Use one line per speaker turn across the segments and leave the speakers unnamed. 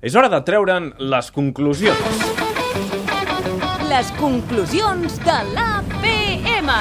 És hora de treure'n les conclusions.
Les conclusions de l'APM.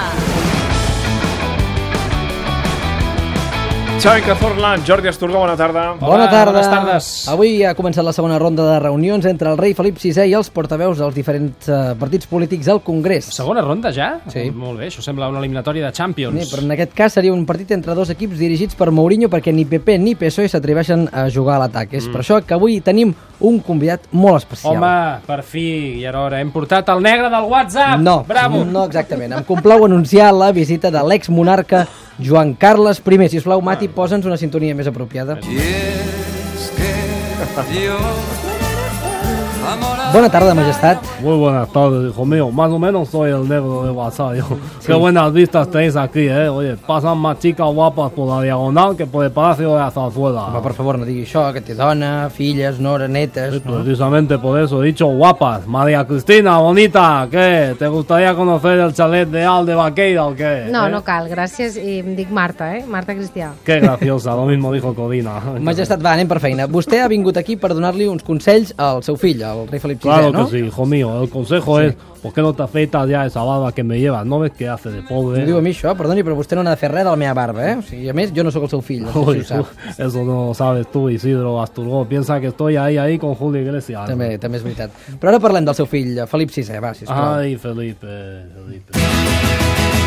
Xavi Cazorla, Jordi Asturga, bona tarda.
Hola,
Bona tarda.
bones tardes.
Avui ha començat la segona ronda de reunions entre el rei Felip VI i els portaveus dels diferents eh, partits polítics al Congrés.
Segona ronda ja?
Sí.
Molt bé, això sembla una eliminatòria de Champions.
Sí, però en aquest cas seria un partit entre dos equips dirigits per Mourinho perquè ni PP ni PSOE E s'atreveixen a jugar a l'atac. És per això que avui tenim un convidat molt especial.
Mm. Home, per fi, i ara hora, hem portat el negre del WhatsApp!
No,
Bravo!
no exactament. Em complau anunciar la visita de l'exmonarca Joan Carles I. Si us plau, Mati, posa'ns una sintonia més apropiada. Bona tarda, majestat.
Muy buenas tardes, hijo mío. Más o menos soy el negro de WhatsApp, hijo. Qué buenas vistas tenéis aquí, eh. Oye, pasan más chicas guapas por la diagonal que por el Palacio de la Zarzuela.
Home, per favor, no digui això, que té dona, filles, nora, netes... No?
Precisamente por eso he dicho guapas. María Cristina, bonita, ¿qué? ¿Te gustaría conocer el chalet de Alde Vaqueira o qué?
No,
eh?
no cal, gràcies. I em dic Marta, eh? Marta Cristià.
Qué graciosa, lo mismo dijo Codina.
Majestat, va, anem per feina. Vostè ha vingut aquí per donar-li uns consells al seu fill, al rei Felip VI,
Claro
no?
que sí, hijo mío. El consejo es, ¿por qué no te afeitas ya esa barba que me llevas? ¿No ves que hace de pobre?
Em diu a mi això, perdoni, però vostè no n'ha de fer res de la meva barba, eh? O sigui, a més, jo no sóc el seu fill, no sé
Uy,
si ho sap.
eso no lo sabes tú, Isidro Asturgó. Piensa que estoy ahí, ahí con Julio Iglesias.
També, també és veritat. Pero ara parlem del seu fill, Felip VI, va, sisplau.
Ay, Felipe, Felipe.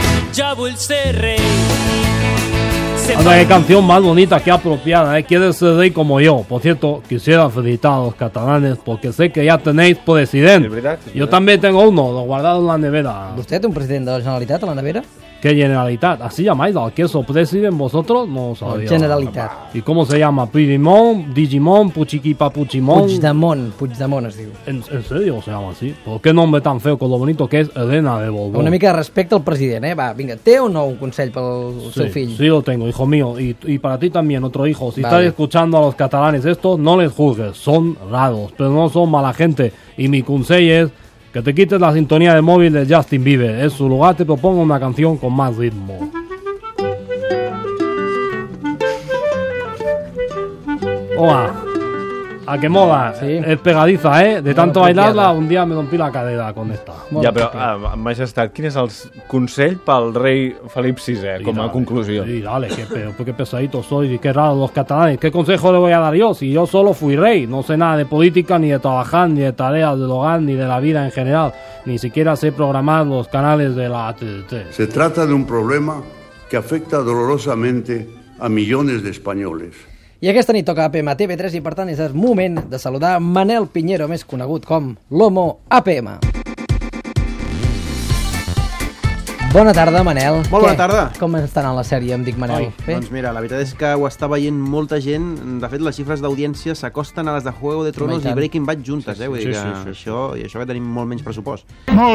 Anda, qué canción más bonita, qué apropiada, ¿eh? Quieres ser rey como yo. Por cierto, quisiera felicitar a los catalanes porque sé que ya tenéis presidente.
Es verdad, es
Yo
verdad.
también tengo uno, lo guardado en la nevera.
Vostè té un president de la Generalitat a la nevera?
¿Qué generalidad? ¿Así llamáis al queso president vosotros? No lo sabía.
Generalitat.
¿Y cómo se llama? Pirimón, Digimon, Puchiqui Papuchimón.
Puigdemont, Puigdemont es diu.
¿En, en serio se llama así? ¿Por qué nombre tan feo con lo bonito que es Elena de Borbón?
Una mica de respecte al president, eh? Va, vinga, té o no un consell pel
Sí,
seu fill?
sí lo tengo, hijo mío. Y, y para ti también, otro hijo. Si
Vale.
estás escuchando a los catalanes esto, no les juzgues. Son raros, pero no son mala gente. Y mi consejo es que te quites la sintonía de móvil de Justin Bieber. En su lugar te propongo una canción con más ritmo. Hola. A que mola.
Sí.
Es pegadiza, ¿eh? De tanto
apropiada.
bailarla, un día me rompí la cadera con esta.
Molt
ja, però,
apropiat.
ah, majestat, quin és el consell pel rei Felip VI,
Y
com a
dale,
conclusió?
Y dale, qué, pe- qué pesadito soy, y qué raro los catalanes. ¿Qué consejo le voy a dar yo si yo solo fui rey? No sé nada de política, ni de trabajar, ni de tareas del hogar, ni de la vida en general. Ni siquiera sé programar los canales de la ATT.
Se trata de un problema que afecta dolorosamente a millones de españoles.
I aquesta nit toca APM a TV3 i per tant és el moment de saludar Manel Pinheiro, més conegut com l'Homo APM. Bona tarda, Manel.
Molt bona tarda.
Com està anant la sèrie, em dic Manel? Bé?
Doncs mira, la veritat és que ho està veient molta gent. De fet, les xifres d'audiència s'acosten a les de Juego de
Home, i
Tronos
tant.
i Breaking Bad juntes, eh? Vull
sí,
dir que
sí, sí, sí.
això, i això que tenim molt menys pressupost.
A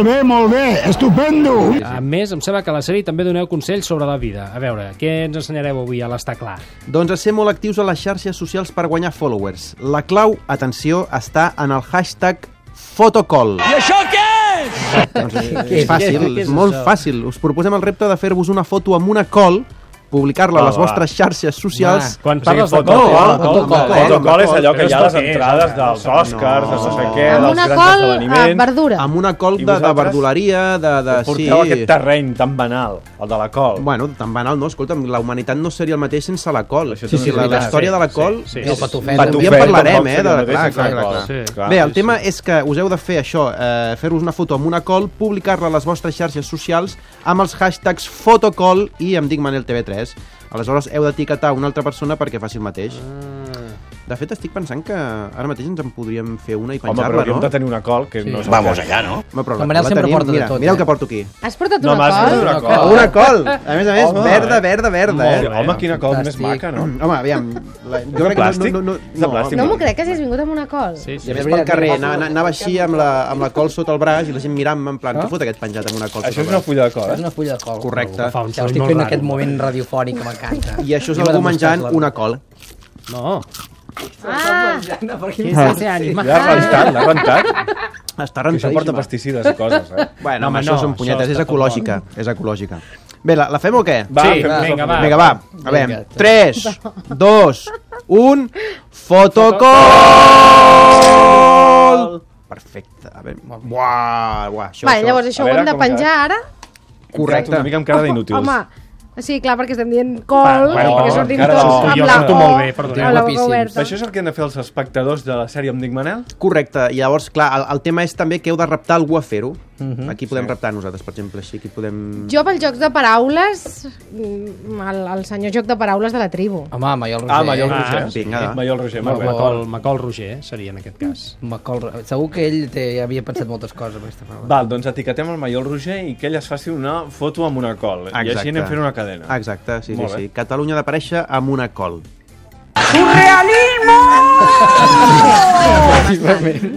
més, em sembla que a la sèrie també doneu consells sobre la vida. A veure, què ens ensenyareu avui a l'Està Clar?
Doncs a ser molt actius a les xarxes socials per guanyar followers. La clau, atenció, està en el hashtag Fotocall. I això què és? Doncs és, és fàcil,
Què és
és molt
això?
fàcil. Us proposem el repte de fer-vos una foto amb una col, publicar-la a les
Va, va.
vostres xarxes socials...
Va.
Quan
O sigui,
parles de col,
fotocol,
Fotocall,
eh?
fotocall,
Fotocall.
eh?
Fotocol és allò que
Però
hi ha
esto
a les
què és,
entrades
home?
dels Oscars, de no sé què,
Amb
dels
una
grans
col, eh,
esdeveniments...
verdura.
Amb una col
I
de, de
vosaltres?
verduleria, de... de
Porteu aquest terreny tan banal, el de la col.
Bueno, tan banal no, escolta'm, la humanitat no seria el mateix sense la col.
Això
Sí,
també
sí,
és
la, la
veritat.
història
Sí,
de la col... Eh,
sí, sí.
és-
No pot ofendre.
Un dia en
Tufell
parlarem,
tampoc
eh,
seria el
de la
mateix
clar,
sense
clar,
la
clar,
col.
clar.
Sí, clar,
Bé,
sí,
el tema és que us heu de fer això, eh, fer-vos una foto amb una col, publicar-la a les vostres xarxes socials amb els hashtags fotocol i em dic Manel TV3. Aleshores heu d'etiquetar una altra persona perquè faci el mateix.
Ah.
De fet, estic pensant que ara mateix ens en podríem fer una i
Home, però
penjar-la,
aquí hem
no?
de tenir una col que no és...
Vamos allá, ¿no?
Home, però
El Manel sempre porta de
mira,
tot,
mira
eh?
el que porto aquí.
Has portat
No
una
m'has dit
col?
una
Una
col.
col.
Una col! A més a més,
Ah. Home,
verda,
eh?
verda, verda, eh?
Molt bé, Home, quina col més
Fantàstic.
maca, no?
Home, aviam, la, jo crec que
plàstic?
no... no,
És
no,
de plàstic,
no,
No m'ho crec, que si has vingut amb una col.
Sí, sí.
I a més
És
pel
veritat,
carrer,
mira,
anava, ana- anava així amb la, amb la col sota el braç i la gent mirant-me en plan, què fot aquest penjat amb una col
Això és
sota
una
el braç?
fulla de col, eh?
És una fulla de col.
Correcte.
Fa un
Ja ho
soroll
estic
molt
fent en
raro.
aquest moment radiofònic, que m'encanta.
I això és
Anem a
algú
demostrar-la.
menjant una col.
No,
Ah,
No, perquè
ese ànima.
L'ha rentat, l'ha rentat.
Està
Que això porta
rentadíssima.
pesticides i coses, eh?
Bueno,
No,
no,
home,
això
no,
són punyetes,
això
és
està
ecològica. És ecològica. Bé, la, la fem o què?
Va,
Sí,
fem
va,
una
vinga,
foto.
va.
Vinga, va. A veure,
Vinga.
3, 2, 1... Fotocol! Buah, buah, això,
Vale,
això.
llavors això
A
ho
veure
hem de
com
penjar ara.
Correcte.
Una mica amb cara d'inútils.
Home, sí, clar, perquè estem dient col,
Va,
bueno,
perquè
però
sortim
encara
tots
no.
amb
Jo
la
surto
o,
molt bé, perdoneu.
amb la boca
Guapíssims.
oberta.
Això és el que han de fer els espectadors de la sèrie amb Dic Manel?
Correcte, i llavors, clar, el, el tema és també que heu de reptar algú a fer-ho.
Mhm.
Aquí podem reptar nosaltres, per exemple, així, aquí podem...
Jo pels jocs de paraules, mm, el, el senyor joc de paraules de la tribu.
Home, Maiol Roger.
Ah, Maiol Roger.
vinga, va.
Maiol Roger, molt bé.
Macol, Macol Roger, eh, seria en aquest cas.
Macol... Segur que ell té, ja havia pensat moltes coses amb aquesta paraula.
Val, doncs etiquetem el Maiol Roger i que ell es faci una foto amb una col. I així anem fent una cadena.
Exacte, sí, sí,
Molt bé.
sí. Catalunya ha d'aparèixer amb una col.
I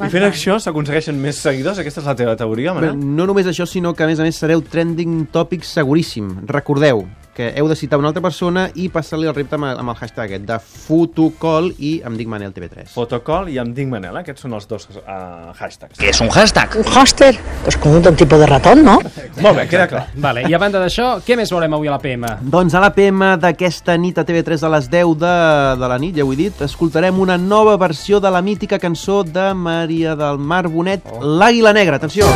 fent això s'aconsegueixen més seguidors? Aquesta és la teva teoria,
Bé,
Manel?
no només això, sinó que a més a més sereu trending topic seguríssim. Recordeu que heu de citar una altra persona i passar-li el repte amb, el- amb el hashtag aquest de fotocol i em dic Manel TV3.
Fotocol i em dic Manel, aquests són els dos eh, hashtags.
¿Qué es un hashtag?
Un hámster, pues como un tipo de ratón, ¿no?
Molt bé, queda clar.
Vale, i a banda d'això, què més veurem avui a la PM?
Doncs a la PM d'aquesta nit a TV3 a les 10 de, de la nit, ja ho he dit, escoltarem una nova versió de la mítica cançó de Maria del Mar Bonet, oh. L'Àguila Negra. Atenció!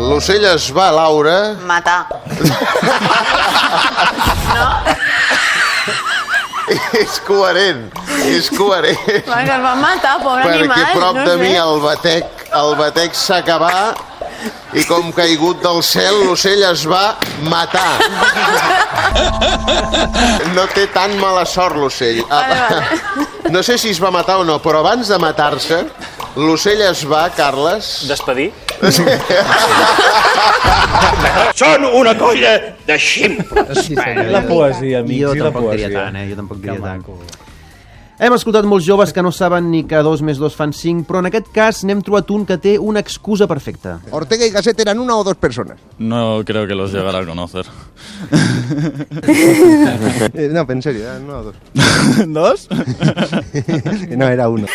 L'ocell es va, Laura.
Mata.
És coherent, és coherent.
Perquè el van matar, pobre
perquè
animal.
prop
no
de
sé.
mi el batec, el batec s'acabà i com caigut del cel l'ocell es va matar. No té tan mala sort l'ocell. No sé si es va matar o no, però abans de matar-se, l'ocell es va, Carles...
Despedir? Són una colla de ximples.
Sí, senyor.
La poesia, amics,
Jo
i la
tampoc diria
poesia.
tant, eh? Jo tampoc diria tant. Hem escoltat molts joves que no saben ni que dos més dos fan cinc, però en aquest cas n'hem trobat un que té una excusa perfecta.
Ortega y Gasset eran una o dos personas.
No creo que los llegara a conocer.
Eh, no, en serio, eran una o dos.
¿Dos?
No, era uno.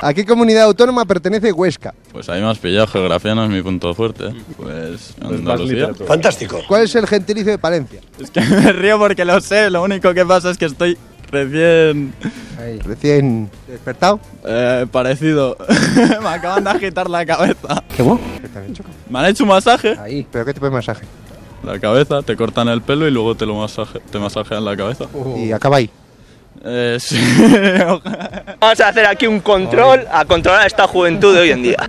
¿A qué comunidad autónoma pertenece Huesca?
Pues ahí me has pillado, geografía no es mi punto fuerte. Pues
Doncs Vas
Andalucía.
literatura.
Fantástico.
¿Cuál es el gentilicio de Palencia?
Es que me río porque lo sé, lo único que pasa es que estoy recién
Recién despertado.
eh, parecido. me acaban de agitar la cabeza.
Què bo?
Me han hecho un masaje.
Ahí.
¿Pero qué tipo de masaje?
La cabeza, te cortan el pelo y luego te lo masaje, te masajean la cabeza.
Y acaba ahí.
Eh, sí.
Vamos a hacer aquí un control a controlar esta juventud de hoy en día.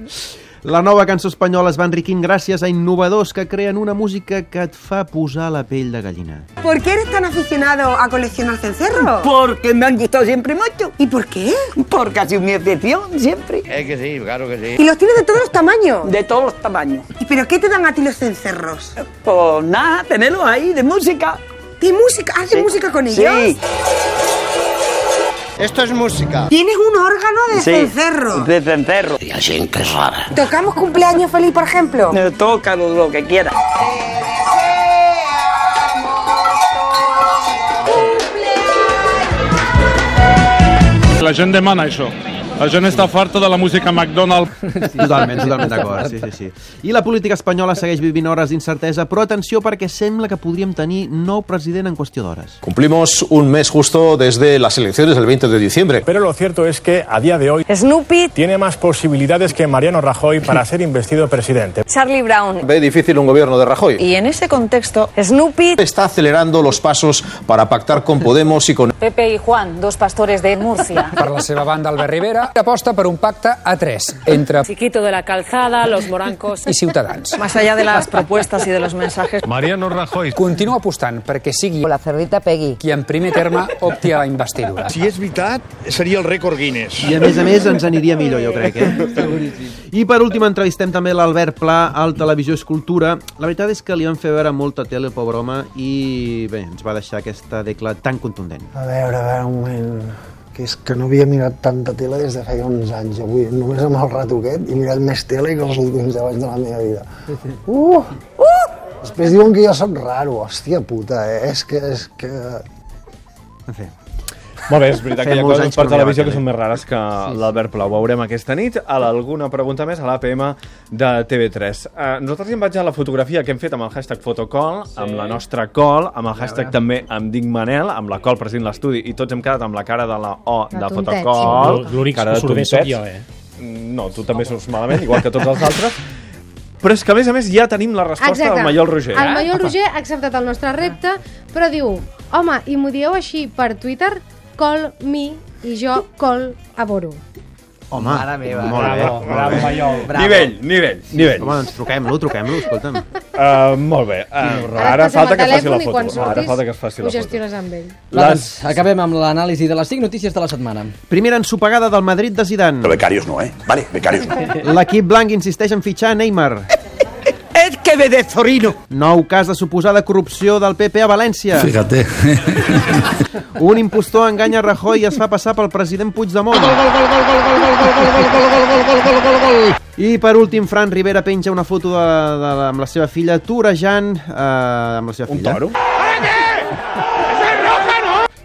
La nova cançó espanyola es va enriquint gràcies a innovadors que creen una música que et fa posar la pell de gallina.
¿Por qué eres tan aficionado a coleccionar cencerros? Porque me han gustado siempre mucho. ¿Y por qué? Porque ha sido mi excepción siempre. Es que sí, claro que sí. ¿Y los tienes de todos los tamaños? De todos los tamaños. ¿Y pero qué te dan a ti los cencerros? Pues nada, tenerlos ahí, de música. ¿De música? ¿Haces música con ellos? Sí.
Esto es música.
Tienes un órgano de cencerro. De cencerro. Y así que rara. ¿Tocamos cumpleaños feliz, por ejemplo? Tócalo lo que quieras.
La gent demana això. La gent està farta de la música McDonald's.
Totalment, totalment d'acord, sí, sí, sí. I la política espanyola segueix vivint hores d'incertesa, però atenció perquè sembla que podríem tenir nou president en qüestió d'hores.
Cumplimos un mes justo desde las elecciones del 20 de diciembre.
Pero lo cierto es que a día de hoy
Snoopy,
tiene más posibilidades que Mariano Rajoy para ser investido presidente.
Charlie Brown.
Ve difícil un gobierno de Rajoy.
Y en ese contexto, Snoopy,
Está acelerando los pasos para pactar con Podemos y con...
Pepe y Juan, dos pastores de Murcia.
Per la seva banda, Albert Rivera aposta per un pacte a tres entre
Chiquito de la calzada, los morancos.
i Ciutadans.
Más allá de las propuestas y de los mensajes.
Mariano Rajoy.
Continua apostant perquè sigui
La cerdita Peggy.
qui en primer terme opti a la investidura.
Si és veritat, seria el rècord Guinness.
I a més a més ens aniria millor, jo crec, eh? I per últim entrevistem també l'Albert Pla al Televisió Escultura. La veritat és que li van fer veure molta tele al pobre home i bé, ens va deixar aquesta decla tan contundent.
A veure, a veure, un moment que és que no havia mirat tanta tele des de feia uns anys. Avui només amb el rato aquest he mirat més tele que els últims 10 anys de la meva vida. Uh! Uh! Després diuen que jo sóc raro, hòstia puta, eh? és que... És que...
En fi.
Molt bé, és veritat que
Feia
hi ha
molts
coses
anys
per
que no
televisió
veia
que són més rares que l'Albert Plau. Veurem aquesta nit a alguna pregunta més a l'APM de TV3. Uh, nosaltres hi em vaig a la fotografia que hem fet amb el hashtag Fotocol, sí. amb la nostra col, amb el hashtag també amb Dic Manel, amb la col present a l'estudi, i tots hem quedat amb la cara de la O de,
tontets.
Fotocol.
L'ú- l'únic
cara de
sordè sóc
tontets.
jo, eh?
No, tu també surts malament, igual que tots els altres. Però és que, a més a més, ja tenim la resposta del Maiol Roger.
El
eh?
Maiol
Apa.
Roger ha acceptat el nostre repte, però diu, home, i m'ho dieu així per Twitter, call me i jo call a Boro.
Home,
Mare meva.
molt bé.
Bravo,
molt
bravo,
bé.
Maiol. Bravo. Nivell, nivell, nivell.
Home, doncs truquem-lo, truquem-lo, escolta'm.
Uh, molt bé. Uh,
et
ara
passem
falta
el
que faci
telèfon
la
i
foto.
quan
Ara
surtis
falta que es faci
Ho
la foto.
gestiones amb ell.
Va, doncs, acabem amb l'anàlisi de les 5 notícies de la setmana.
Primera ensopegada del Madrid de Zidane. Però
becarios no, eh? Vale, becarios no.
L'equip blanc insisteix en fitxar Neymar. Et que ve de Zorino. Nou cas de suposada corrupció del PP a València.
Fíjate.
Un impostor enganya Rajoy i es fa passar pel president Puigdemont. I per últim, Fran Rivera penja una foto de, de, de, amb la seva filla torejant... Eh, amb la seva filla. Un toro?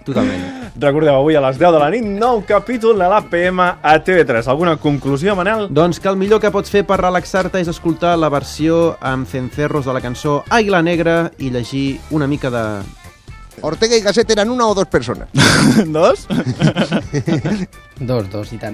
Totalment.
Recordeu, avui a les 10 de la nit, nou capítol de l'APM a TV3. Alguna conclusió, Manel?
Doncs que el millor que pots fer per relaxar-te és escoltar la versió amb cencerros de la cançó Águila Negra i llegir una mica de...
Ortega y Gasset eran una o dos personas.
¿Dos?
Dos, dos, i tant.